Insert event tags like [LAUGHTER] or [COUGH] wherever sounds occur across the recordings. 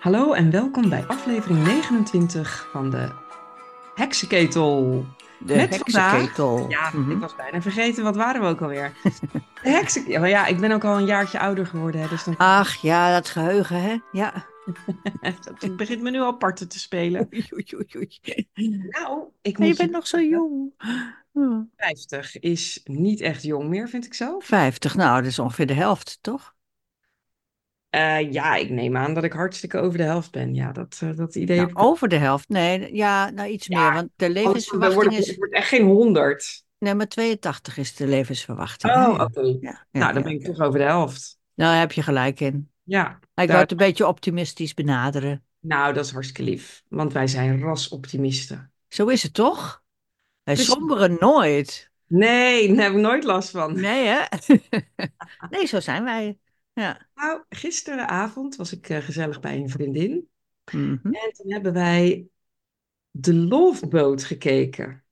Hallo en welkom bij aflevering 29 van de Heksenketel. De Met heksenketel. Ja, Mhm. ik was bijna vergeten, wat waren we ook alweer? [LAUGHS] De heksenketel. Maar ja, ik ben ook al een jaartje ouder geworden, hè, dus [LAUGHS] dan Ach ja, dat geheugen, hè? Ja. het eh, begint me nu al parten te spelen. Oei, oei, oei, [LAUGHS] oei. Nou, ik Maar je moet bent nog zo jong. Hm, 50 is niet echt jong meer, vind ik zelf. 50, nou, dat is ongeveer de helft, toch? Eh, ja, ik neem aan dat ik hartstikke over de helft ben. Ja, dat, eh, dat idee Nou, heb ik. over de helft. Nee, ja, nou iets Ja, Oh, meer, want de Dan word levensverwachting ik- ik is... word echt geen 100. Nee, maar 82 is de levensverwachting. hè? Oh, oké. Ja, ja, ja, nou, dan ja. ben ik toch over de helft. Nou, daar heb je gelijk in. Ja, Maar ik Daar- wou het een beetje optimistisch benaderen. nou, dat is hartstikke lief. Want wij zijn rasoptimisten. Zo is het toch? Wij Precies. somberen [LAUGHS] nooit. Nee, daar heb ik nooit last van. Nee, hè? [LAUGHS] nee, zo zijn wij. Ja. Nou, gisteravond was ik eh, gezellig bij een vriendin. Mhm. En toen hebben wij de Lofboot gekeken.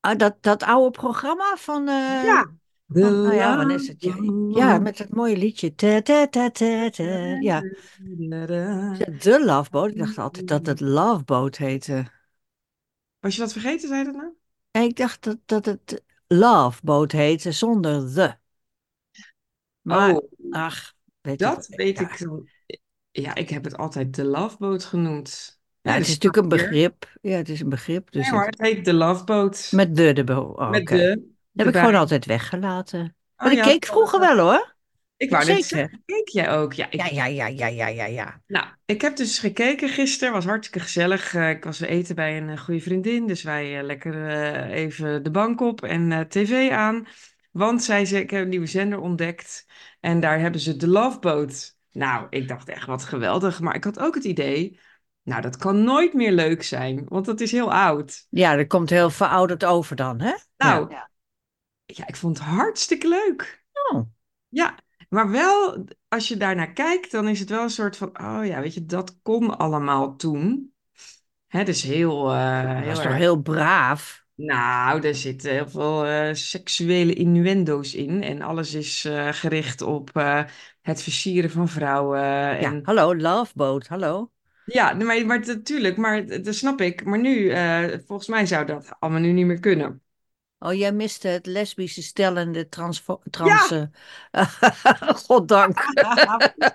Ah, dat, dat oude programma van... eh, Ja. De Van, nou ja, wanneer is het? Ja, ja, met dat mooie liedje. Ta, ta, ta, ta, ta. Ja, Is dat de Love Boat. Ik dacht altijd dat het Love Boat heette. Was je dat vergeten, zei je dat nou? En ik dacht dat, dat het Love Boat heette zonder de. Maar, oh, ach, weet je dat wat, weet ja. ik dan. Ja, ik heb het altijd de Loveboat genoemd. dus- Ja, het is natuurlijk een begrip. Ja, het is een begrip. Dus Nee hoor, het- het heet de Loveboat. met de, de bo. Oh, Met oké. de. Dat heb ik erbij. gewoon altijd weggelaten. Maar Oh ik ja, keek dat- vroeger wel hoor. Ik wou net Zeker. zeggen, keek jij ook? Ja, ik, Ja, ja, ja, ja, ja, ja, ja. Nou, ik heb dus gekeken gisteren, was hartstikke gezellig. Eh, ik was eten bij een eh, goede vriendin, dus wij eh, lekker eh, even de bank op en eh, tv aan. Want zij zei, ik heb een nieuwe zender ontdekt en daar hebben ze de Love Boat. Nou, ik dacht echt wat geweldig, maar ik had ook het idee, nou dat kan nooit meer leuk zijn, want dat is heel oud. Ja, dat komt heel verouderd over dan, hè? Nou, Ja. ja, ik vond het hartstikke leuk. Oh. Ja, maar wel, als je daarnaar kijkt, dan is het wel een soort van, oh ja, weet je, dat kon allemaal toen. Hè, dus heel, eh, Dat heel was toch erg- heel braaf. Nou, daar zitten heel veel eh, seksuele innuendo's in. En alles is eh, gericht op eh, het versieren van vrouwen. Ja, En, hallo, loveboat, hallo. ja, nee, maar, maar natuurlijk, maar dat dat snap ik. Maar nu, eh, volgens mij zou dat allemaal nu niet meer kunnen. Oh, jij miste het lesbische stel en de trans... Ja. trans [LAUGHS] Goddank. [LAUGHS]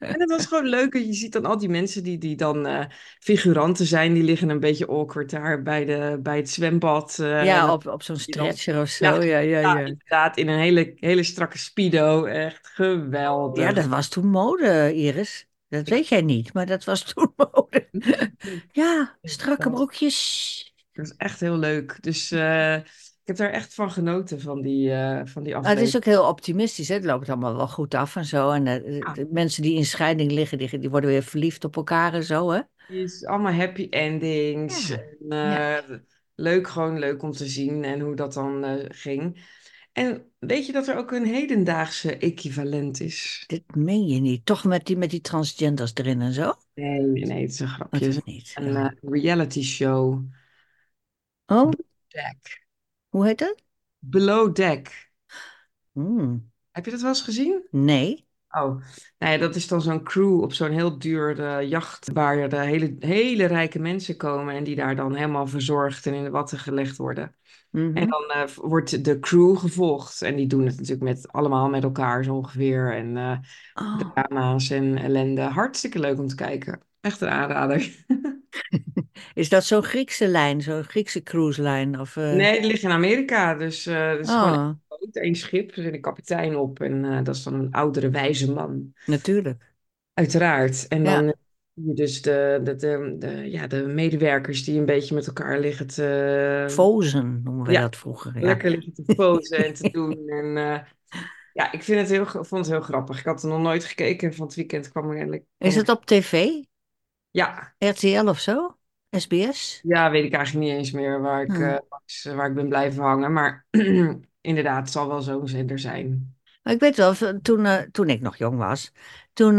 En het was gewoon leuk. want Je ziet dan al die mensen die, die dan eh, figuranten zijn. Die liggen een beetje awkward daar bij, de, bij het zwembad. eh, en Ja, dan- op, op zo'n die dan- stretcher of zo, ja, ja, ja, ja. inderdaad, in een hele, hele strakke speedo. Echt geweldig. Ja, dat was toen mode, Iris. Dat weet jij niet, maar dat was toen [LAUGHS] mode. Ja, strakke broekjes. Dat was echt heel leuk. Dus eh, ik heb daar echt van genoten van die, eh, van die Maar Nou, het is aflevering. ook heel optimistisch, hè? Het loopt allemaal wel goed af en zo. En eh, de, Ja. de mensen die in scheiding liggen, die, die worden weer verliefd op elkaar en zo, hè? is allemaal happy endings. Ja, En, eh, leuk, gewoon leuk om te zien en hoe dat dan eh, ging. En weet je dat er ook een hedendaagse equivalent is? Dit meen je niet. Toch met die, met die transgenders erin en zo? Nee, nee, het is een grapje. Dat Het is is niet. Een ja. eh, reality show. Oh, Deck. hoe heet dat? Below Deck. Hmm, Heb je dat wel eens gezien? Nee. Oh, nou ja, dat is dan zo'n crew op zo'n heel duur eh, jacht waar de hele, hele rijke mensen komen en die daar dan helemaal verzorgd en in de watten gelegd worden. En Mhm. dan eh, v- wordt de crew gevolgd en die doen het natuurlijk met, allemaal met elkaar zo ongeveer en eh, Oh. drama's en ellende. Hartstikke leuk om te kijken. Echt een aanrader. Is dat zo'n Griekse lijn, zo'n Griekse cruise lijn? Of, eh, [LAUGHS] Nee, het ligt in Amerika, dus eh het is gewoon Oh, een boot, één schip, er zit een kapitein op en eh, dat is dan een oudere wijze man. natuurlijk. Uiteraard. En Ja. dan eh, zie je dus de, de, de, de- ja, de medewerkers die een beetje met elkaar liggen te, Fozen noemen we ja. dat vroeger. Ja. lekker liggen te posen en te doen. En eh, ja, ik vind het heel, ge- vond het heel grappig. Ik had er nog nooit gekeken en van het weekend kwam er eigenlijk. Is het op tv? Ja, RTL of zo? SBS? ja, weet ik eigenlijk niet eens meer waar ik, Hmm. eh, langs- waar ik ben blijven hangen. Maar [CLEARS THROAT] inderdaad, het zal wel zo'n zender zijn. Maar ik weet wel, v- toen, eh, toen ik nog jong was, toen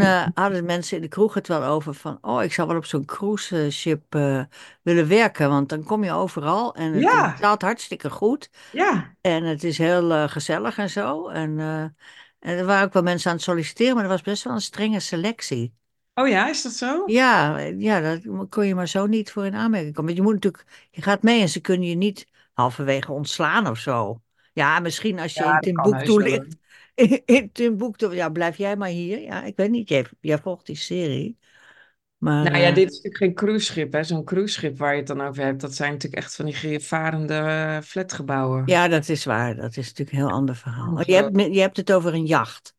[LAUGHS] eh, hadden mensen in de kroeg het wel over van, oh, ik zou wel op zo'n cruiseship eh, willen werken, want dan kom je overal en het Ja. betaalt hartstikke goed. Ja, En het is heel eh, gezellig en zo. En, eh, en er waren ook wel mensen aan het solliciteren, maar er was best wel een strenge selectie. Oh ja, is dat zo? Ja, ja, daar kon je maar zo niet voor in aanmerking komen. Want je moet natuurlijk, je gaat mee en ze kunnen je niet halverwege ontslaan of zo. Ja, misschien als je in Ja, dat kan heus Timbuktu wel. ligt. hoor. [LAUGHS] In, in Timbuktu, ja, blijf jij maar hier. Ja, ik weet niet, jij, jij volgt die serie. Maar Nou ja, eh, dit is natuurlijk geen cruiseschip, hè. Zo'n cruiseschip waar je het dan over hebt, dat zijn natuurlijk echt van die varende eh, flatgebouwen. ja, dat is waar. Dat is natuurlijk een heel ander verhaal. Oh, je Andere- hebt, me- je hebt het over een jacht.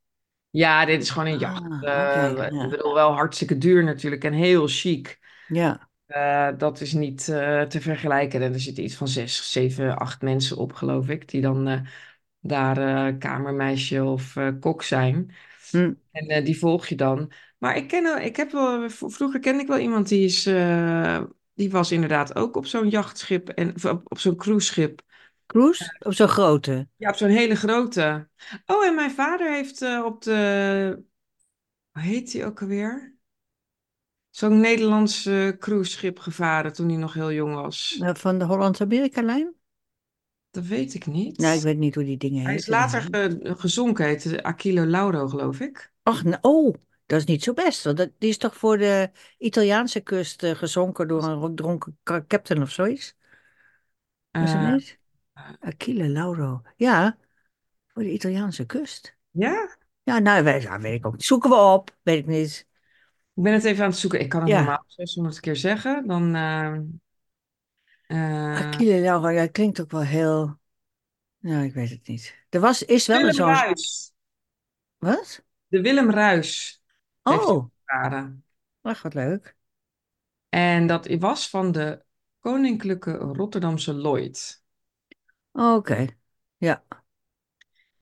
Ja, dit is gewoon een jacht. Ah, oké. Eh, ik ja. bedoel, wel hartstikke duur natuurlijk en heel chic. Ja. Eh, dat is niet eh, te vergelijken. En er zitten iets van zes, zeven, acht mensen op, geloof ik, die dan eh, daar eh, kamermeisje of eh, kok zijn. Hm. En eh, die volg je dan. Maar ik ken, wel- ik heb wel, eh, v- vroeger kende ik wel iemand die is, eh, die was inderdaad ook op zo'n jachtschip en of op, op zo'n cruiseschip. Cruise? Op zo'n grote. Ja, op zo'n hele grote. Oh, en mijn vader heeft eh, op de, hoe heet die ook alweer? Zo'n Nederlands eh, cruiseschip gevaren toen hij nog heel jong was. Eh, Van de Holland-Amerika-lijn? Dat weet ik Nou, ik niet. weet niet hoe die dingen Hij is heten. later daar. ge- gezonken, heette Aquilo Lauro, geloof ik. Ach, nou, oh, dat is niet zo best. Want dat, die is toch voor de Italiaanse kust eh, gezonken door een ro- dronken ka- captain of zoiets? Was dat Eh, niet? Achille Lauro. Ja, voor de Italiaanse kust. ja, Ja, nou, weet, ja, weet ik ook niet. Zoeken we op. Weet ik niet. ik ben het even aan het zoeken. Ik kan het Ja, normaal 600 keer zeggen. Dan, eh, eh, Achille Lauro, ja, klinkt ook wel heel... Nou, ik weet het niet. Er was, is wel een Willem zo'n... Ruis. Wat? De Willem Ruis heeft hij Oh, gevaren. ach, wat leuk. En dat was van de Koninklijke Rotterdamse Lloyd. Oké. Ja,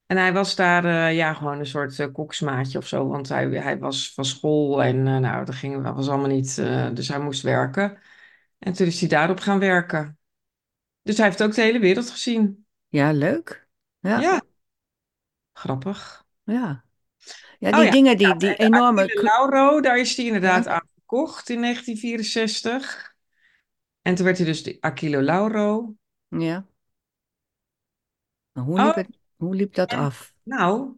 En hij was daar eh, ja, gewoon een soort eh, koksmaatje of zo. Want hij, hij was van school en eh, nou, dat ging, dat was allemaal niet. eh, dus hij moest werken. En toen is hij daarop gaan werken. Dus hij heeft ook de hele wereld gezien. ja, leuk. Ja, Ja, grappig. ja. Ja, Oh die ja, dingen, die, ja, die en de enorme... Achille cru- Lauro, daar is hij Ja. inderdaad aan verkocht in 1964. En toen werd hij dus de Achille Lauro. Ja. Maar Hoe liep Oh, het, hoe liep dat en af? nou,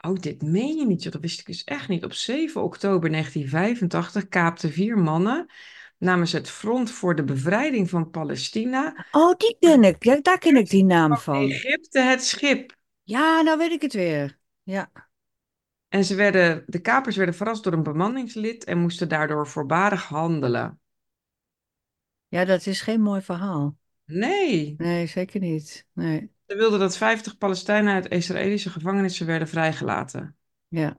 oh, dit meen je niet, joh, dat wist ik dus echt niet. Op 7 oktober 1985 kaapten vier mannen namens het Front voor de Bevrijding van Palestina Oh, die ken ik. Ja, daar ken ik die naam van van. Egypte het schip. Ja, nou weet ik het weer. Ja. En ze werden, de kapers werden verrast door een bemanningslid en moesten daardoor voorbarig handelen. Ja, dat is geen mooi verhaal. Nee, Nee, zeker niet. Nee. ze wilden dat 50 Palestijnen uit Israëlische gevangenissen werden vrijgelaten. Ja.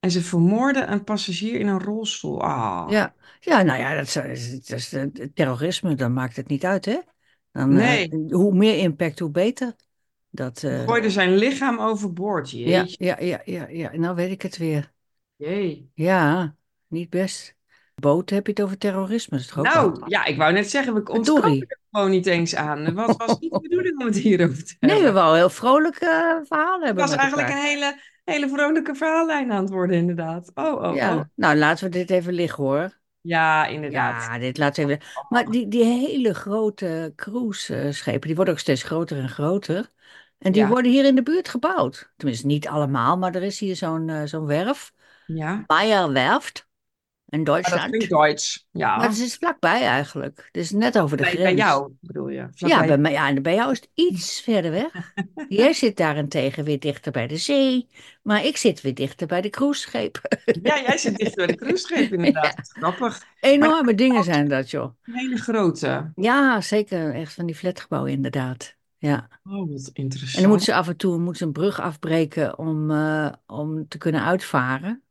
En ze vermoorden een passagier in een rolstoel. Ah, Ja. Ja, nou ja, dat is, dat is, dat is, eh, terrorisme, dan maakt het niet uit, hè? Dan, eh, nee. hoe meer impact, hoe beter. Dat, Ze eh, gooiden zijn lichaam overboord. ja, Jeetje. ja, ja, ja, ja. Nou weet ik het weer. Jee. Ja, niet best. Boot heb je het over terrorisme, dat is toch ook wat? Nou, ja, ik wou net zeggen, we ontkomen Verdorie. er gewoon niet eens aan. Wat was niet de bedoeling om het hierover te Nee, we hebben? wel heel vrolijk eh, verhaal Het hebben was met eigenlijk een elkaar. hele, hele vrolijke verhaallijn aan het worden, inderdaad. Oh, oh, oh. Ja, nou laten we dit even liggen hoor. Ja, inderdaad. Oh. Ja, dit laten we even. Maar die, die hele grote cruiseschepen, die worden ook steeds groter en groter. En die Ja, worden hier in de buurt gebouwd. Tenminste, niet allemaal, maar er is hier zo'n eh, zo'n werf. ja. Meyer Werft in Maar Ah, dat klinkt Duitsland. Duits. Maar het Ja. is vlakbij eigenlijk. Het is net over de Bij, bij grens. jou, bedoel je. Ja, Vlakbij. bij mij, ja, en bij jou is het iets verder weg. [LAUGHS] Jij zit daarentegen weer dichter bij de zee. Maar ik zit weer dichter bij de cruiseschepen. Ja, jij zit dicht bij de cruiseschip, inderdaad. [LAUGHS] Ja. Dat is grappig. Maar dat Enorme dingen is zijn dat, joh. een hele grote. Ja, zeker. Echt van die flatgebouwen, inderdaad. Ja. Oh, wat En dan moeten interessant. ze af en toe moeten ze een brug afbreken om, eh, om te kunnen uitvaren.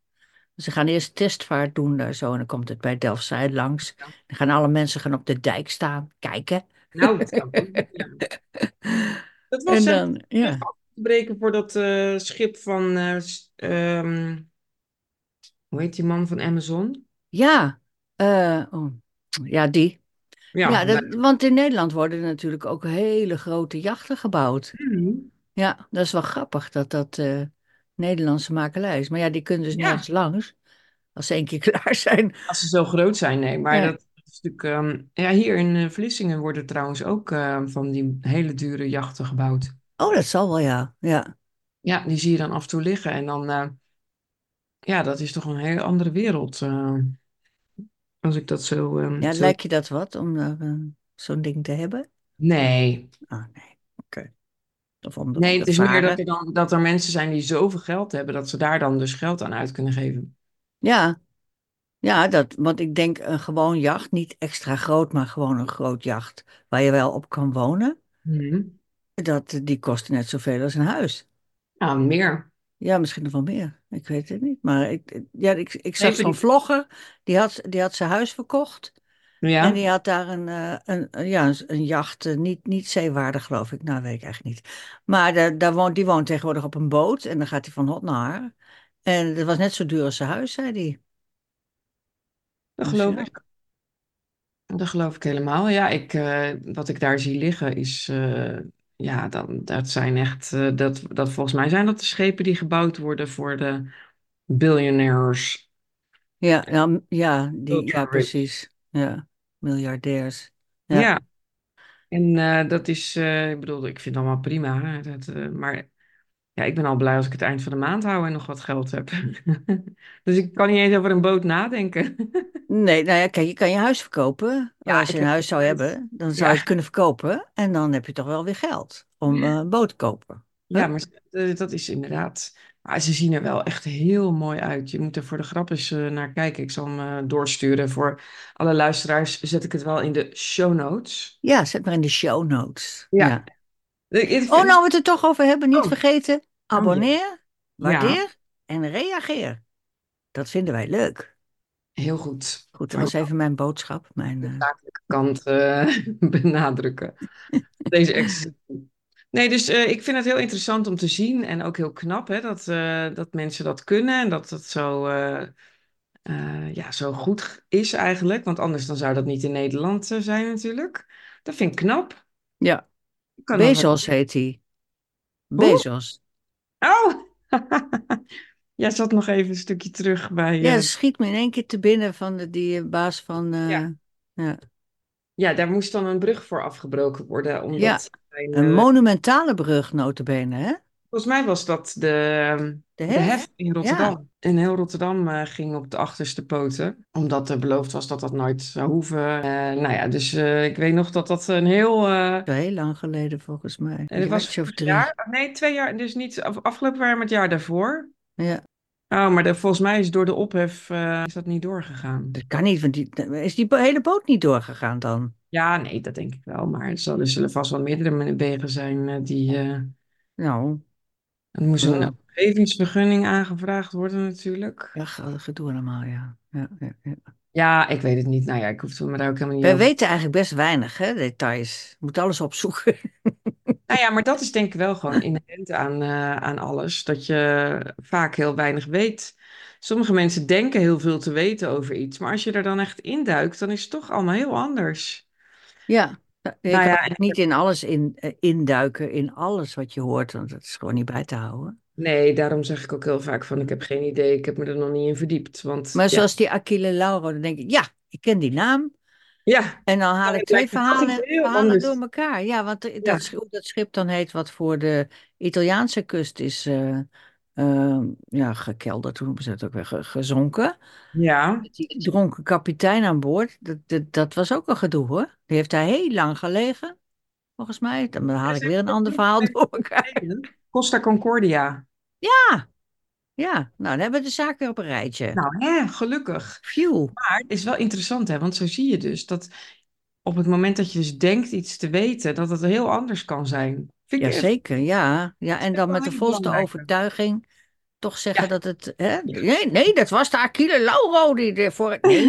Ze gaan eerst een testvaart doen daar zo. En dan komt het bij Delfzijl langs. Dan gaan alle mensen gaan op de dijk staan, kijken. Nou, dat zou ik ook [LAUGHS] niet willen. Dat was En eh, zeg, dan, brug ja. af te breken voor dat eh, schip van, eh, s- ehm, hoe heet die man van Amazon? Ja, eh, oh, ja, die. Ja, Ja, dat, nou, want in Nederland worden natuurlijk ook hele grote jachten gebouwd. mhm. Ja, dat is wel grappig dat dat eh, Nederlandse makelij is. Maar ja, die kunnen dus nergens ja, langs als ze één keer [LAUGHS] klaar zijn. als ze zo groot zijn, nee, maar Nee. dat is natuurlijk, ehm, ja, hier in eh, Vlissingen worden trouwens ook eh, van die hele dure jachten gebouwd. Oh, dat zal wel, ja. Ja, Ja, die zie je dan af en toe liggen en dan, eh, Ja, dat is toch een hele andere wereld. eh, als ik dat zo, ehm, Ja, zo... lijkt je dat wat om eh, zo'n ding te hebben? Nee. Oh nee, oké. Of om dat Nee, te het is meer dat varen. er, dan, dat er mensen zijn die zoveel geld hebben... dat ze daar dan dus geld aan uit kunnen geven. Ja, ja dat, want ik denk een gewoon jacht, niet extra groot, maar gewoon een groot jacht waar je wel op kan wonen. Mhm. Dat, die kost net zoveel als een huis. Ja, Nou, meer. Ja, misschien nog wel meer. Ik weet het niet. Maar ik, ja, ik, ik Nee, zag maar zo'n vlogger, die had, die had zijn huis verkocht. die- En Ja. die had daar een, eh, een, een- ja, een, een jacht, eh, niet, niet zeewaardig geloof ik, nou weet ik eigenlijk niet. Maar daar, daar woont, die woont tegenwoordig op een boot en dan gaat hij van hot naar haar. En dat was net zo duur als zijn huis, zei hij. Dat Dus geloof ja, ik. Dat geloof ik helemaal. Ja, ik, eh, wat ik daar zie liggen is... eh, ja, dan, dat zijn echt... eh, dat, dat volgens mij zijn dat de schepen die gebouwd worden voor de billionaires. ja, nou, m- ja, die, Ultra ja rich. precies. Ja, miljardairs. Ja, Ja, en eh, dat is... eh, ik bedoel, ik vind het allemaal prima. hè, Dat, eh, maar ja, ik ben al blij als ik het eind van de maand hou en nog wat geld heb. [LAUGHS] Dus ik kan niet eens over een boot nadenken. nee, nou ja, kijk, je kan je huis verkopen. Ja, Als je ik een heb huis zou geluisterd. hebben, dan zou je Ja. het kunnen verkopen. En dan heb je toch wel weer geld om eh, een boot te kopen. Huh? Ja, maar eh, dat is inderdaad. Maar ze zien er wel echt heel mooi uit. Je moet er voor de grap eens eh, naar kijken. Ik zal hem eh, doorsturen. Voor alle luisteraars zet ik het wel in de show notes. Ja, zet maar in de show notes. Ja. Ja. Ik, ik Oh, nou vind... we het er toch over hebben, niet Oh, vergeten. oh jee. Abonneer, Ja, waardeer en reageer. Dat vinden wij leuk. heel goed. Goed, dat Maar was hoe even mijn boodschap. Mijn, de eh, zakelijke kant eh, [LAUGHS] benadrukken. Deze exercitie. Nee, dus eh, ik vind het heel interessant om te zien en ook heel knap hè, dat, eh, dat mensen dat kunnen en dat dat zo, eh, eh, ja, zo goed g- is eigenlijk. Want anders dan zou dat niet in Nederland eh, zijn natuurlijk. Dat vind ik knap. Ja, Ik kan nog wat. Bezos heet hij. Hoe? Bezos. Oh! [LAUGHS] Jij zat nog even een stukje terug bij. Ja, dat eh, schiet me in één keer te binnen van de, die eh, baas van... Ja. eh, ja. ja, daar moest dan een brug voor afgebroken worden, ja, omdat. zijn, een eh, monumentale brug nota bene, hè? Volgens mij was dat de, ehm, De de hef. hef in Ja, Rotterdam. En heel Rotterdam eh, ging op de achterste poten. Omdat er beloofd was dat dat nooit zou hoeven. Eh, nou ja, dus eh, ik weet nog dat dat een heel... eh, dat is heel lang geleden volgens mij. en Een dat was jaartje of vorig drie. jaar. Nee, twee jaar. Dus niet af- afgelopen jaar, maar het jaar daarvoor. Ja, Oh, maar de- volgens mij is door de ophef eh, is dat niet doorgegaan. dat kan niet, want die, is die bo- hele boot niet doorgegaan dan? Ja, nee, dat denk ik wel. Maar er zullen, er zullen vast wel meerdere wegen zijn eh, die... eh Nou, er moest een wel. omgevingsvergunning aangevraagd worden natuurlijk. Ja, ge- gedoe allemaal, ja. Ja, ja, ja. Ja, ik weet het niet. Nou ja, ik hoef het me daar ook helemaal niet Wij over weten eigenlijk best weinig, hè, details. Moet alles opzoeken. Nou ja, maar dat is denk ik wel gewoon inherent aan, eh, aan alles. Dat je vaak heel weinig weet. Sommige mensen denken heel veel te weten over iets. Maar als je er dan echt induikt, dan is het toch allemaal heel anders. Ja, nou, je Nou kan ja, ook en- niet in alles in, eh, induiken, in alles wat je hoort, want dat is gewoon niet bij te houden. nee, daarom zeg ik ook heel vaak van ik heb geen idee. Ik heb me er nog niet in verdiept. Want Maar ja, zoals die Achille Lauro, dan denk ik, ja, ik ken die naam. ja, En dan haal maar ik het twee lijkt me toch iets verhalen, heel verhalen door anders. elkaar. Ja, want eh, dat, Ja, schip- dat schip dan heet wat voor de Italiaanse kust is eh, eh, ja, gekelderd, hoe noemen ze dat ook weer, ge- gezonken. ja. Met die dronken kapitein aan boord, dat, dat, dat was ook een gedoe hoor. Die heeft daar heel lang gelegen, volgens mij. Dan Ja, haal ik ze weer hebben een het ook ander [LAUGHS] niet verhaal echt door elkaar. vergeleken. Costa Concordia. Ja, ja. Nou, dan hebben we de zaak weer op een rijtje. Nou, hè, gelukkig. Phew. Maar het is wel interessant, hè? Want zo zie je dus dat op het moment dat je dus denkt iets te weten, dat het heel anders kan zijn. Vind ik echt Jazeker, ja. Ja, en dan wel met de hele volste belangrijke. overtuiging toch zeggen Ja. dat het... Hè? Ja. Nee, nee, dat was de Achille Lauro die er [LAUGHS] voor... Nee,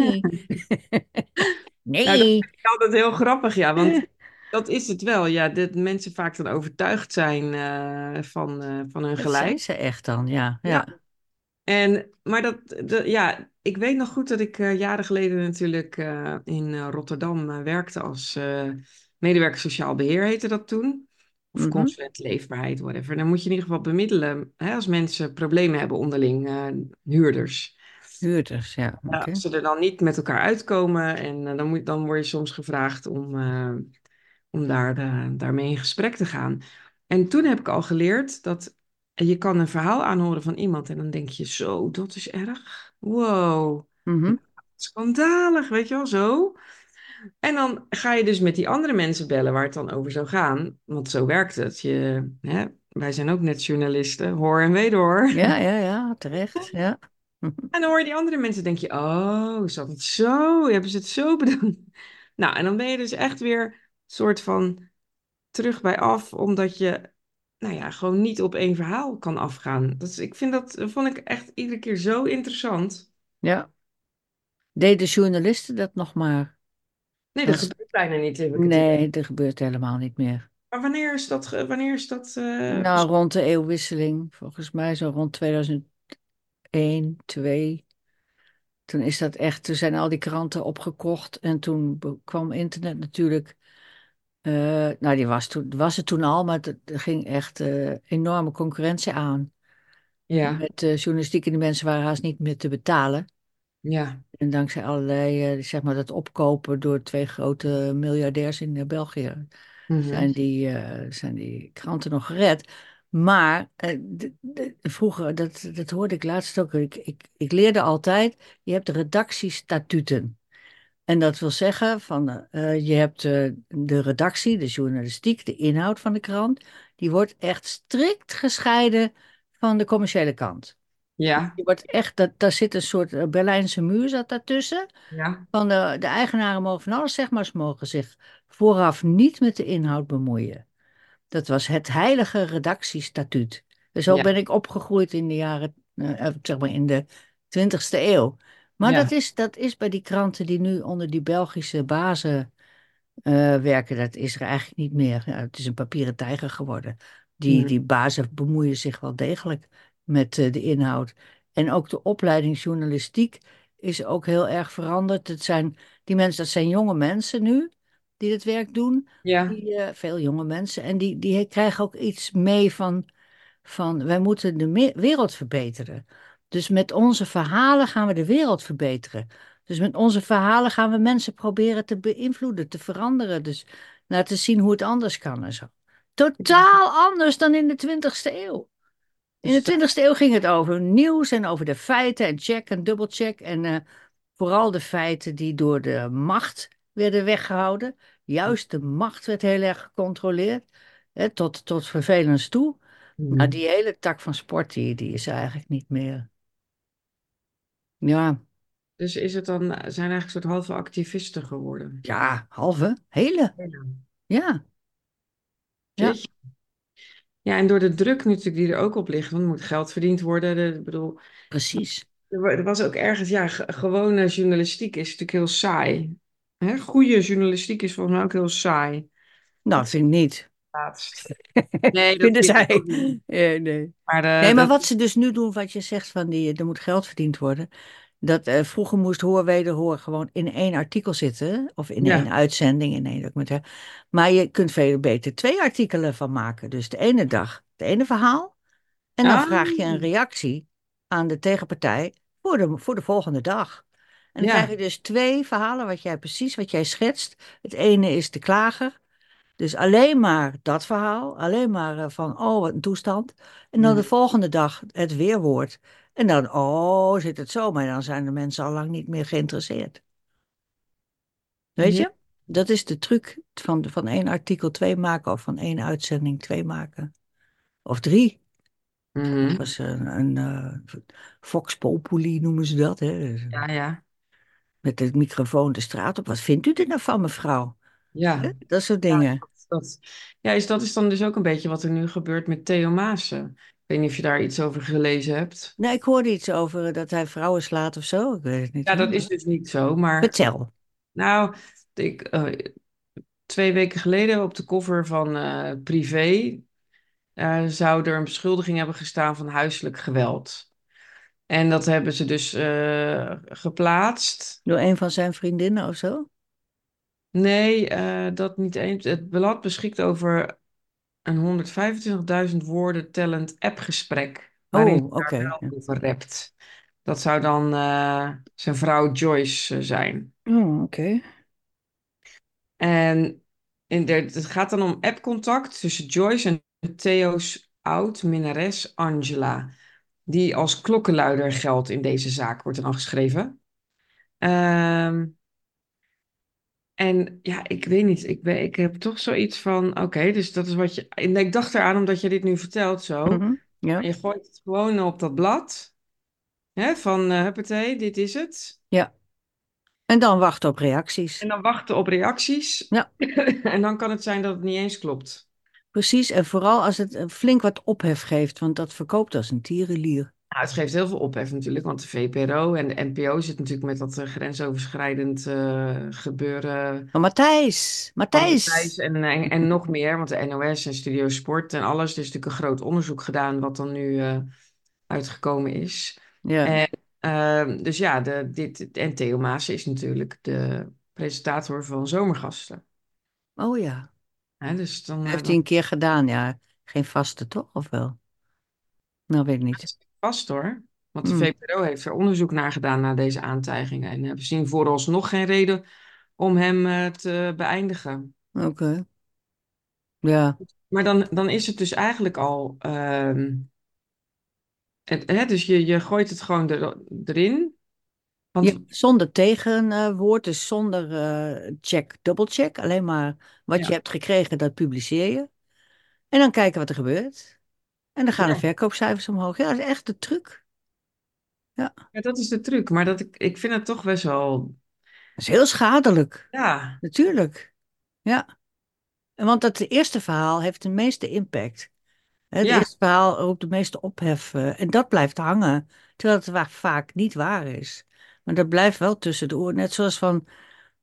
[LAUGHS] Nou, dat nee. vind ik altijd heel grappig, ja. [LAUGHS] Want dat is het wel, ja. Dat mensen vaak dan overtuigd zijn eh, van, eh, van hun Dat zijn gelijk. ze echt dan, ja. Ja. Ja, En, maar dat, dat- ja, ik weet nog goed dat ik eh, jaren geleden natuurlijk eh, in eh, Rotterdam eh, werkte als eh, medewerker sociaal beheer heette dat toen. Of Mhm. consulent leefbaarheid, whatever. Dan moet je in ieder geval bemiddelen hè, als mensen problemen hebben onderling, eh, huurders. Huurders, ja, Ja, oké. als ze er dan niet met elkaar uitkomen en eh, dan, moet, dan word je soms gevraagd om, eh, om daar, eh, daarmee in gesprek te gaan. En toen heb ik al geleerd dat. En je kan een verhaal aanhoren van iemand en dan denk je, zo, dat is erg. Wow, Mhm. schandalig, weet je wel, zo. En dan ga je dus met die andere mensen bellen waar het dan over zou gaan. Want zo werkt het. Je, hè, wij zijn ook net journalisten, hoor en wederhoor. Ja, ja, ja, terecht. Ja. En dan hoor je die andere mensen, denk je, oh, is dat het zo? Hebben ze het zo bedacht? [LAUGHS] Nou, en dan ben je dus echt weer soort van terug bij af, omdat je, nou ja, gewoon niet op één verhaal kan afgaan. Dat is, ik vind dat, dat vond ik echt iedere keer zo interessant. Ja. Deden journalisten dat nog maar? Nee, dat Dat is- gebeurt bijna niet, heb ik het idee. Nee, dat gebeurt helemaal niet meer. Maar wanneer is dat, ge- wanneer is dat, eh, Nou, rond de eeuwwisseling, volgens mij zo rond 2001, 2. Toen is dat echt, toen zijn al die kranten opgekocht en toen be- kwam internet natuurlijk. eh, nou, die was, toen, was het toen al, maar het- er ging echt eh, enorme concurrentie aan. ja, Met eh, journalistiek en die mensen waren haast niet meer te betalen. ja, En dankzij allerlei, eh, zeg maar, dat opkopen door twee grote miljardairs in eh, België, mhm, zijn die, eh, zijn die kranten nog gered. Maar eh, d- d- vroeger, dat, dat hoorde ik laatst ook, ik, ik, ik leerde altijd, je hebt de redactiestatuten. En dat wil zeggen, van, eh, je hebt eh, de redactie, de journalistiek, de inhoud van de krant, die wordt echt strikt gescheiden van de commerciële kant. ja, Je wordt echt, dat, daar zit een soort eh, Berlijnse muur zat daartussen. ja, Van de, de eigenaren mogen van alles, zeg maar, ze mogen zich vooraf niet met de inhoud bemoeien. Dat was het heilige redactiestatuut. En zo ja, ben ik opgegroeid in de jaren, eh, eh, zeg maar in de 20ste eeuw. Maar dat ja, is, dat is bij die kranten die nu onder die Belgische bazen eh, werken, dat is er eigenlijk niet meer. Ja, het is een papieren tijger geworden. Die, mhm, die bazen bemoeien zich wel degelijk met eh, de inhoud. En ook de opleiding journalistiek is ook heel erg veranderd. Het zijn, die mensen, dat zijn jonge mensen nu die dit werk doen. ja, Die, eh, veel jonge mensen. En die, die krijgen ook iets mee van, van wij moeten de me- wereld verbeteren. Dus met onze verhalen gaan we de wereld verbeteren. Dus met onze verhalen gaan we mensen proberen te beïnvloeden, te veranderen. Dus laten zien hoe het anders kan en zo. Totaal anders dan in de 20ste eeuw. In de dus dat, 20ste eeuw ging het over nieuws en over de feiten en check en dubbelcheck. En eh, vooral de feiten die door de macht werden weggehouden. Juist de macht werd heel erg gecontroleerd, hè, tot, tot vervelens toe. Nou, mhm. die hele tak van sport, die, die is er eigenlijk niet meer. Ja, Dus is het dan, zijn eigenlijk een soort halve activisten geworden? ja, halve, hele, Ja. ja. Ja, Jeetje. Ja, en door de druk natuurlijk die er ook op ligt, want er moet geld verdiend worden. De- Ik bedoel, precies. er wa- er was ook ergens, ja, ge- gewone journalistiek is natuurlijk heel saai. Hè? Goede journalistiek is volgens mij ook heel saai. Nou, Dat dat vind ik niet. laatst. [LAUGHS] Nee, dat Vinden vind ik zij. ook niet. Eh, nee. Maar Nee, eh, maar dat, wat ze dus nu doen, wat je zegt van die, er moet geld verdiend worden. Dat eh, vroeger moest hoor, wederhoor gewoon in één artikel zitten. Of in één ja, uitzending, in één documentaire. Maar je kunt veel beter twee artikelen van maken. Dus de ene dag het ene verhaal. En dan ah, vraag je een reactie aan de tegenpartij voor de, voor de volgende dag. En dan krijg ja, je dus twee verhalen, wat jij precies, wat jij schetst. Het ene is de klager. Dus alleen maar dat verhaal, alleen maar eh, van oh, wat een toestand. En dan Mhm. de volgende dag het weerwoord. En dan, oh, zit het zo, maar dan zijn de mensen al lang niet meer geïnteresseerd. Weet ja, je? Dat is de truc van, van één artikel twee maken of van één uitzending twee maken. Of drie. Dat Mhm. was een, een eh, Vox Populi noemen ze dat. Hè? ja, ja, Met het microfoon de straat op. Wat vindt u er nou van, mevrouw? Hè? ja. Dat soort Ja, dingen. dat, dat- ja is, dat is dan dus ook een beetje wat er nu gebeurt met Theo Maassen. Ik weet niet of je daar iets over gelezen hebt. Nou, ik hoorde iets over eh, dat hij vrouwen slaat of zo. Ik weet het niet Ja, hoor. dat is maar- dus niet zo, maar Vertel. nou, ik, eh, twee weken geleden op de cover van eh, Privé eh, zou er een beschuldiging hebben gestaan van huiselijk geweld. En dat hebben ze dus eh, geplaatst. Door een van zijn vriendinnen of zo? Nee, eh, dat niet eens. Het blad beschikt over een 125.000 woorden tellend appgesprek, waarin Oh, ze daar oké. wel Ja. over rapt. Dat zou dan eh, zijn vrouw Joyce eh, zijn. Oh, oké. En in de, het gaat dan om appcontact tussen Joyce en Theo's oud-minnares Angela, die als klokkenluider geldt in deze zaak, wordt er dan geschreven. Ehm, en ja, ik weet niet, ik, ben, ik heb toch zoiets van, oké, dus dat is wat je... En ik dacht eraan, omdat je dit nu vertelt zo, Mhm. Ja, je gooit het gewoon op dat blad, hè, van eh huppatee, dit is het. ja. En dan wachten op reacties. En dan wachten op reacties. Ja. [LAUGHS] en dan kan het zijn dat het niet eens klopt. Precies, en vooral als het eh, flink wat ophef geeft, want dat verkoopt als een tierenlier. Nou, het geeft heel veel ophef natuurlijk, want de VPRO en de NPO zit natuurlijk met dat eh, grensoverschrijdend eh, gebeuren Maar Oh, Matthijs, van Matthijs. Oh, Matthijs en, eh, en, en nog meer, want de NOS en Studio Sport en alles. Er is natuurlijk een groot onderzoek gedaan wat dan nu eh, uitgekomen is. Ja, En, eh, dus ja, de, dit, en Theo Maas is natuurlijk de presentator van Zomergasten. oh ja. Hè, dus dan, eh, Heeft hij dan een keer gedaan, ja. Geen vaste toch, of wel? Nou, weet ik niet. is het vast hoor. Want de Hmm. VPRO heeft er onderzoek naar gedaan naar deze aantijgingen. En hebben zien vooralsnog geen reden om hem eh, te beëindigen. Oké, ja. Maar dan, dan is het dus eigenlijk al. ehm, het, hè, dus je, je gooit het gewoon er, erin. Ja, Want zonder tegenwoord, dus zonder eh, check, dubbelcheck. Alleen maar wat je ja, hebt gekregen, dat publiceer je. En dan kijken wat er gebeurt. En dan gaan de ja, verkoopcijfers omhoog. Ja, dat is echt de truc. Ja, dat ja, dat is de truc. Maar dat, ik, ik vind het toch best wel. is heel schadelijk, Ja, natuurlijk. Ja, En want dat eerste verhaal heeft de meeste impact. Hè, Het ja, eerste verhaal roept de meeste ophef. eh, En dat blijft hangen, terwijl het wa- vaak niet waar is. Maar dat blijft wel tussen de oren. Net zoals van,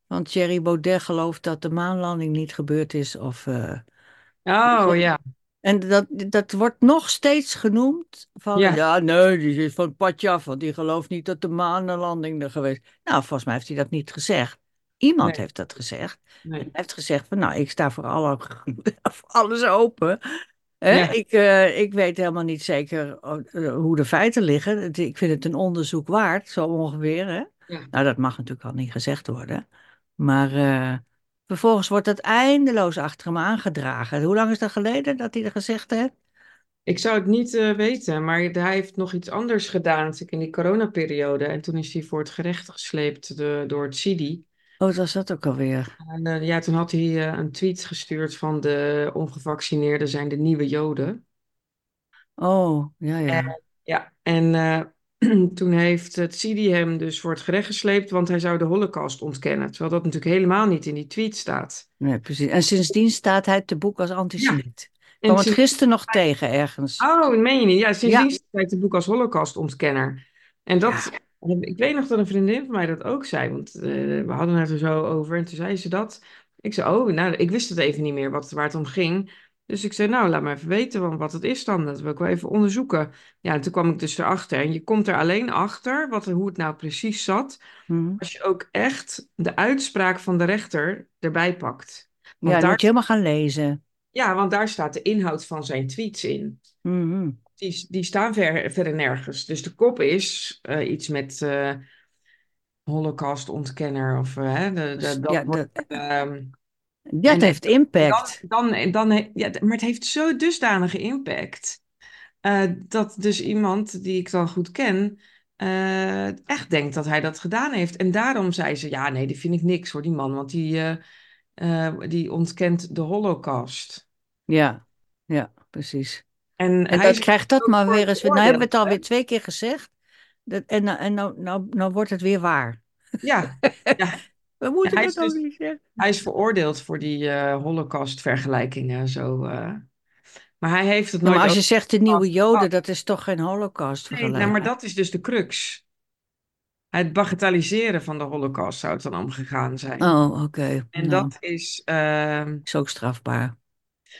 van Thierry Baudet gelooft dat de maanlanding niet gebeurd is. Of, eh, weet oh je. ja, En dat, dat wordt nog steeds genoemd van, ja, ja, nee, die is van het padje af, want die gelooft niet dat de maanlanding er geweest is. Nou, volgens mij heeft hij dat niet gezegd. Iemand nee, heeft dat gezegd. En nee, hij heeft gezegd van, nou, ik sta voor, alle, [LAUGHS] voor alles open. Hè? ja, Ik, eh, ik weet helemaal niet zeker eh, hoe de feiten liggen. Het- Ik vind het een onderzoek waard, zo ongeveer. Hè? ja, Nou, dat mag natuurlijk al niet gezegd worden. Maar eh, vervolgens wordt dat eindeloos achter hem aangedragen. Hoe lang is dat geleden dat hij dat gezegd heeft? Ik zou het niet eh, weten, maar hij heeft nog iets anders gedaan natuurlijk in die coronaperiode. En toen is hij voor het gerecht gesleept de- door het CIDI. Oh, wat was dat ook alweer? En eh, ja, toen had hij eh, een tweet gestuurd van de ongevaccineerden zijn de nieuwe Joden. Oh, ja, ja. En, ja, en eh, [CLEARS THROAT] toen heeft het CIDI hem dus voor het gerecht gesleept, want hij zou de Holocaust ontkennen. Terwijl dat natuurlijk helemaal niet in die tweet staat. Nee, precies. En sindsdien staat hij te boek als Ja, antisemiet. Ik en kwam het sinds... gisteren nog tegen ergens. Oh, dat meen je niet? Ja, sindsdien Ja, staat hij te boek als holocaustontkenner. En dat, eh, ja. ik weet nog dat een vriendin van mij dat ook zei, want eh, we hadden het er zo over en toen zei ze dat. Ik zei, oh, nou, ik wist het even niet meer wat, waar het om ging. Dus ik zei, nou, laat me even weten want wat het is dan. Dat wil ik wel even onderzoeken. Ja, en toen kwam ik dus erachter. En je komt er alleen achter wat, hoe het nou precies zat, Hm. als je ook echt de uitspraak van de rechter erbij pakt. Ja, Want dan moet je daar, helemaal gaan lezen. ja, want daar staat de inhoud van zijn tweets in Mhm. die, die staan ver, verder nergens. Dus de kop is eh, iets met eh Holocaust-ontkenner of eh, hè, de, de- Dus dat ja, wordt. dat, ehm, dat en, en heeft dan, impact. dan, en dan, he- ja, maar het heeft zo dusdanige impact eh, dat dus iemand die ik dan goed ken eh, echt denkt dat hij dat gedaan heeft. En daarom zei ze: Ja, nee, die vind ik niks voor die man, want die, eh, eh, die ontkent de Holocaust. Ja, ja, precies. En En hij dat is krijgt dat ook maar voor weer eens. Nou hebben we veroordeeld. het hè? alweer twee keer gezegd. Dat, en nou- en nou, nou, nou wordt het weer waar. Ja, ja. We Ja, moeten hij is dat ook dus. niet zeggen. Hij is veroordeeld voor die eh Holocaust-vergelijkingen. en Zo, eh. Maar hij heeft het Ja, Nou, maar nooit als je over. zegt de nieuwe Oh, Joden, dat is toch geen nee, nou, maar Holocaust-vergelijking? dat is dus de crux. Het bagatelliseren van de Holocaust zou het dan om gegaan zijn. Oh, oké. En Nou, dat is. ehm, is ook strafbaar.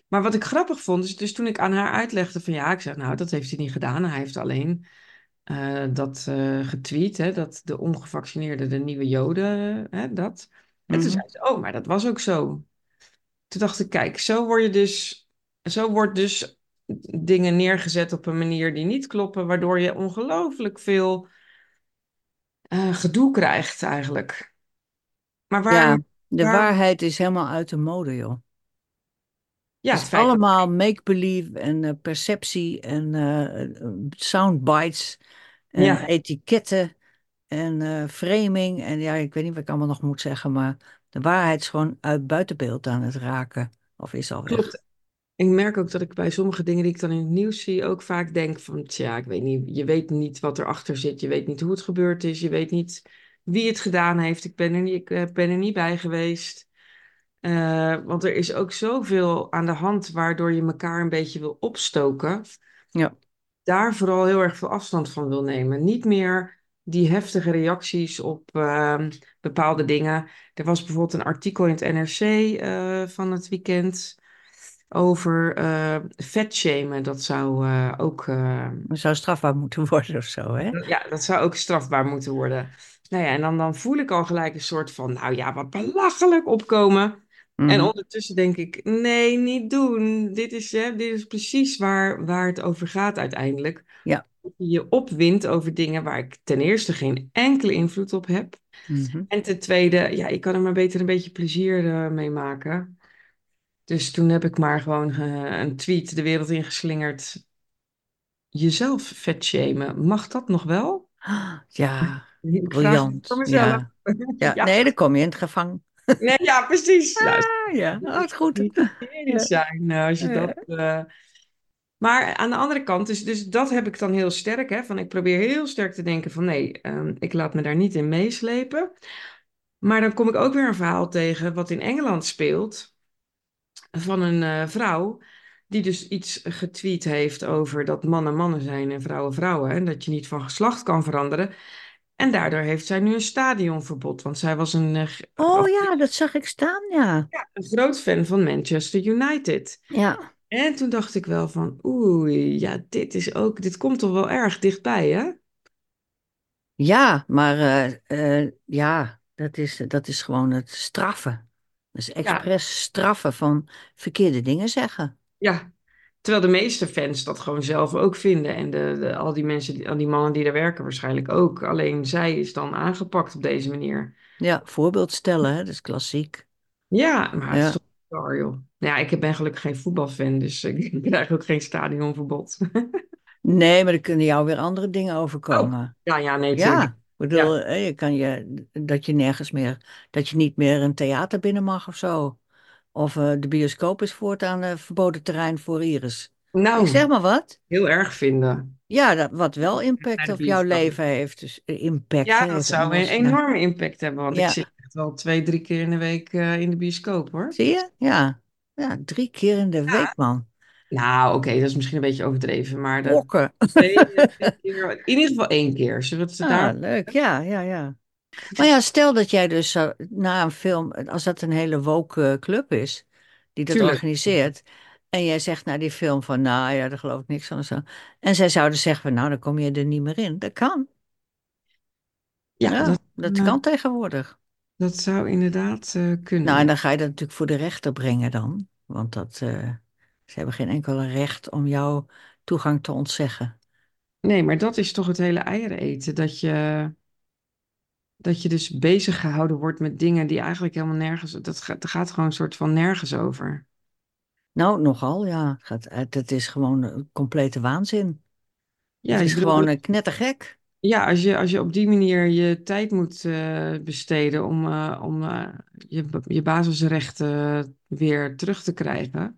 Maar wat ik grappig vond, is dus toen ik aan haar uitlegde: van ja, ik zeg nou, dat heeft hij niet gedaan. Hij heeft alleen eh, dat eh, getweet, hè, dat de ongevaccineerden de nieuwe Joden, hè, dat. En toen Mhm. zei ze: oh, maar dat was ook zo. Toen dacht ik, kijk, zo word je dus, zo wordt dus dingen neergezet op een manier die niet kloppen, waardoor je ongelooflijk veel eh, gedoe krijgt eigenlijk. Maar waar, Ja, de waar, waarheid is helemaal uit de mode, joh. Ja, Het het is feit dat... allemaal make-believe en eh, perceptie en eh, sound soundbites en Ja, etiketten en eh, framing. En ja, ik weet niet wat ik allemaal nog moet zeggen, maar de waarheid is gewoon uit buiten beeld aan het raken. Of is al weg. klopt. Ik merk ook dat ik bij sommige dingen die ik dan in het nieuws zie ook vaak denk van, tja, ik weet niet, je weet niet wat erachter zit, je weet niet hoe het gebeurd is, je weet niet wie het gedaan heeft, ik ben er niet, ik eh, ben er niet bij geweest. Eh, want er is ook zoveel aan de hand waardoor je elkaar een beetje wil opstoken. Ja. daar vooral heel erg veel afstand van wil nemen. Niet meer die heftige reacties op ehm, bepaalde dingen. Er was bijvoorbeeld een artikel in het NRC eh, van het weekend over eh vetshamen. Dat zou eh, ook eh, Het zou strafbaar moeten [LAUGHS] worden of zo, hè? ja, dat zou ook strafbaar moeten worden. Nou ja, en dan, dan voel ik al gelijk een soort van, nou ja, wat belachelijk opkomen. En Mhm. ondertussen denk ik, nee, niet doen. Dit is, hè, dit is precies waar, waar het over gaat uiteindelijk. Ja. Dat je je opwindt over dingen waar ik ten eerste geen enkele invloed op heb. Mhm. En ten tweede, ja, ik kan er maar beter een beetje plezier eh, mee maken. Dus toen heb ik maar gewoon eh, een tweet de wereld ingeslingerd. Jezelf vetshamen, mag dat nog wel? Ah, Ja, Ik vraag het voor briljant. mezelf. [LAUGHS] Ja. ja, Ja, nee, dan kom je in het gevangen. nee, ja, precies. Ja, het Ah, ja, moet dat is goed. niet hysterisch zijn nou, als je dat. eh, Maar aan de andere kant, dus, dus dat heb ik dan heel sterk. Hè, van ik probeer heel sterk te denken van nee, ehm, ik laat me daar niet in meeslepen. Maar dan kom ik ook weer een verhaal tegen wat in Engeland speelt. Van een eh, vrouw die dus iets getweet heeft over dat mannen mannen zijn en vrouwen vrouwen. En dat je niet van geslacht kan veranderen. En daardoor heeft zij nu een stadionverbod. Want zij was een, eh, g- Oh ja, dat zag ik staan, ja. een groot fan van Manchester United. Ja, En toen dacht ik wel van, oei, ja, dit is ook, dit komt toch wel erg dichtbij, hè? ja maar eh, eh, ja, dat is, dat is gewoon het straffen. Dat is Ja. expres straffen van verkeerde dingen zeggen. Ja. Terwijl de meeste fans dat gewoon zelf ook vinden. En de, de- al die mensen, die- al die mannen die daar werken waarschijnlijk ook. Alleen zij is dan aangepakt op deze manier. Ja, voorbeeld stellen, hè, dat is klassiek. Ja, maar het is Ja, toch bizar, joh. Nou Ja, ik ben gelukkig geen voetbalfan, dus [LAUGHS] ik krijg ook geen stadionverbod. [LAUGHS] nee, maar er kunnen jou weer andere dingen Oh, overkomen. ja, ja, nee, Ja, tuurlijk. ik bedoel, Ja, eh, je kan je, dat je nergens meer, dat je niet meer een theater binnen mag of zo. Of eh, de bioscoop is voortaan eh, verboden terrein voor Iris. Ik nou, zeg maar wat. heel erg vinden. Ja, dat, wat wel Naar impact de op jouw bioscoop. leven heeft. Dus eh, impact Ja, hè, dat is zou een anders. eh, enorme impact hebben, want ik Ja, zit echt wel twee, drie keer in de week eh, in de bioscoop, hoor. zie je? Ja. Ja, drie keer in de week, Ja. man. Nou, oké, dat is misschien een beetje overdreven, maar dat Blokken. twee, drie keer, in ieder geval één keer. Zullen we het Ah, daar... leuk. Ja, ja, ja. Maar ja, stel dat jij dus zou- na een film, als dat een hele woke eh, club is, die dat Tuurlijk. organiseert, en jij zegt na die film van, nou ja, daar geloof ik niks van en zo. En zij zouden zeggen van, nou, dan kom je er niet meer in. Dat kan. Ja, Ja, dat, dat eh, kan tegenwoordig. dat zou inderdaad eh, kunnen, Nou, en ja. dan ga je dat natuurlijk voor de rechter brengen dan. Want dat, eh, ze hebben geen enkele recht om jou toegang te ontzeggen. Nee, maar dat is toch het hele eieren eten, dat je, dat je dus bezig gehouden wordt met dingen die eigenlijk helemaal nergens... Dat gaat, dat gaat gewoon een soort van nergens over. Nou, nogal, ja. Gaat, uit- dat is gewoon een complete waanzin. Ja, Het is ik bedoel, gewoon een knettergek. ja, als je, als je op die manier je tijd moet eh, besteden om, eh, om eh, je, je basisrechten weer terug te krijgen,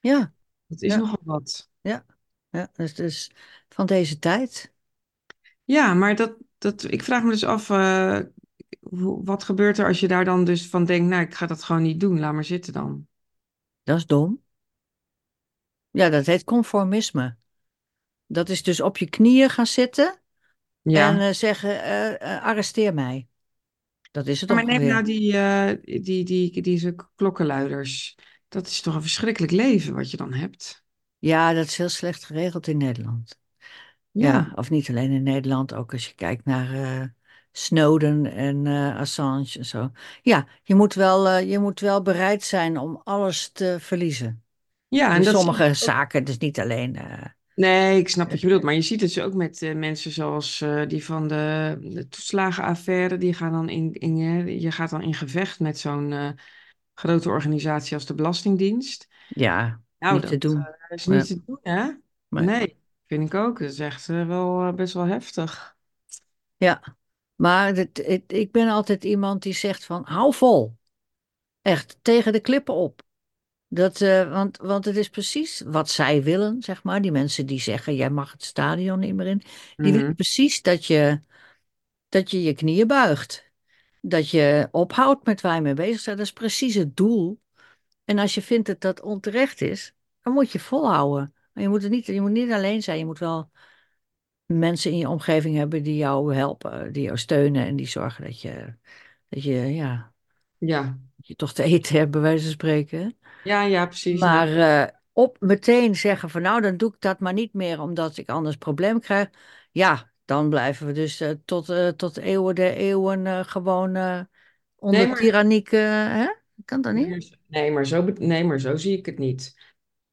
Ja, dat is ja, nogal wat. ja. Ja, dus, dus van deze tijd. Ja, maar dat, dat, ik vraag me dus af, eh, hoe- wat gebeurt er als je daar dan dus van denkt, nou, ik ga dat gewoon niet doen, laat maar zitten dan. Dat is dom. Ja, dat heet conformisme. Dat is dus op je knieën gaan zitten en Ja. eh, zeggen, eh, eh, arresteer mij. Dat is het Ja, Maar neem nou ongeveer. die, eh, die, die, die, deze klokkenluiders. Dat is toch een verschrikkelijk leven wat je dan hebt. Ja, dat is heel slecht geregeld in Nederland. Ja, Ja, of niet alleen in Nederland, ook als je kijkt naar eh, Snowden en eh, Assange en zo. Ja, je moet wel, eh, je moet wel bereid zijn om alles te verliezen. ja, In en dat zie sommige je ook. zaken, dus niet alleen. eh, Nee, ik snap wat je het- bedoelt. Maar je ziet het dus ook met eh, mensen zoals eh, die van de, de toeslagenaffaire. Die gaan dan in, in, eh, je gaat dan in gevecht met zo'n eh, grote organisatie als de Belastingdienst. Ja, Nou, niet te dat doen. eh, is niet Ja, te doen, hè? maar, Nee, vind ik ook. Dat is echt eh, wel eh, best wel heftig. ja. maar het, het- ik ben altijd iemand die zegt van hou vol. Echt, tegen de klippen op. Dat, eh, want, want het is precies wat zij willen, zeg maar. Die mensen die zeggen, jij mag het stadion niet meer in. Die willen Mhm. precies dat je, dat je je knieën buigt. Dat je ophoudt met waar je mee bezig bent. Dat is precies het doel. En als je vindt dat dat onterecht is, dan moet je volhouden. Maar je moet het niet, je moet niet alleen zijn. Je moet wel mensen in je omgeving hebben die jou helpen, die jou steunen en die zorgen dat je, dat je, ja, Ja. dat je toch te eten hebt, bij wijze van spreken. Ja, ja, precies. Nee. Maar eh, op meteen zeggen van nou, dan doe ik dat maar niet meer omdat ik anders probleem krijg. Ja, dan blijven we dus eh, tot, eh, tot eeuwen de eeuwen eh, gewoon eh, Nee, onder maar tyranniek. eh, hè? Kan dat Nee, niet? maar zo, nee, maar zo be- nee, maar zo zie ik het niet.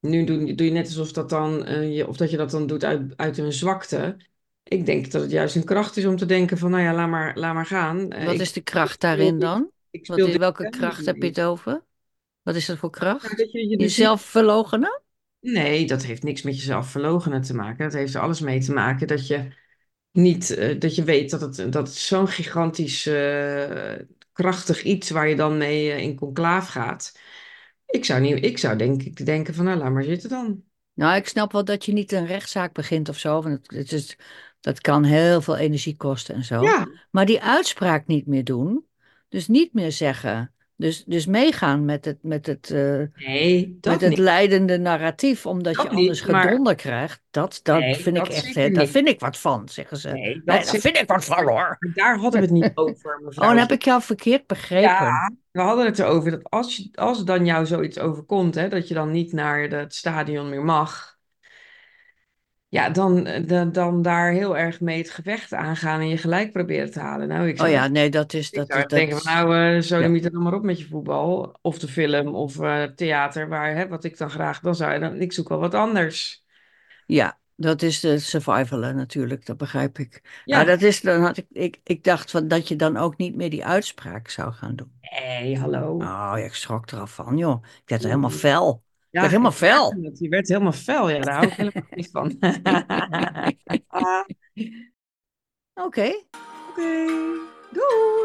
Nu doe, doe je net alsof dat dan, eh, je, of dat je dat dan doet uit, uit een zwakte. Ik denk dat het juist een kracht is om te denken van, nou ja, laat maar, laat maar gaan. Eh, Wat ik, is de kracht ik speel daarin dit, dan? ik Wat speel is, dit welke spel niet kracht heb je mee. het over? Wat is dat voor Nou, kracht? dat je je dus niet... Jezelf verloochenen? Nee, dat heeft niks met jezelf verloochenen te maken. Dat heeft er alles mee te maken dat je niet, eh, dat je weet dat het, dat het zo'n gigantisch eh, krachtig iets waar je dan mee eh, in conclaaf gaat. Ik zou niet, ik zou denk ik denken van, nou, laat maar zitten dan. Nou, ik snap wel dat je niet een rechtszaak begint of zo. Want het, het is, dat kan heel veel energie kosten en zo. Ja, Maar die uitspraak niet meer doen. Dus niet meer zeggen. Dus, dus meegaan met het, met het, eh, nee, met dat het niet. leidende narratief. Omdat je Dat anders niet, maar gedonder krijgt. Dat, dat nee, vind ik dat echt, zeker hè, daar niet. vind ik wat van, zeggen ze. Nee, Nee, dat daar zeker vind ik wat niet. van Maar, hoor. maar daar hadden we het niet over, [LAUGHS] Oh, dan heb mevrouwtje. ik jou verkeerd begrepen. Ja, we hadden het erover dat als, je, als dan jou zoiets overkomt, hè, dat je dan niet naar het stadion meer mag. Ja, dan, eh, dan, dan daar heel erg mee het gevecht aangaan en je gelijk proberen te halen. Nou, ik Oh zou ja, echt, nee, dat is, ik dat zou is, echt dat denken van is, nou, eh ja. sodemiet er dan maar op met je voetbal. Of de film of eh, theater, waar, hè, wat ik dan graag, dan zou je dan, ik zoek wel wat anders. Ja, dat is de survivalen natuurlijk, dat begrijp ik. Nou, Ja, dat is, dan had ik, ik, ik dacht van, dat je dan ook niet meer die uitspraak zou gaan doen. hey, hallo. Oh, ja, ik schrok er al van, joh. Ik werd helemaal Mm. fel. Ik Ja, werd helemaal ik merkte fel. het. Je werd helemaal fel. Ja, daar hou ik helemaal niet [LAUGHS] van. Oké. Oké, doei!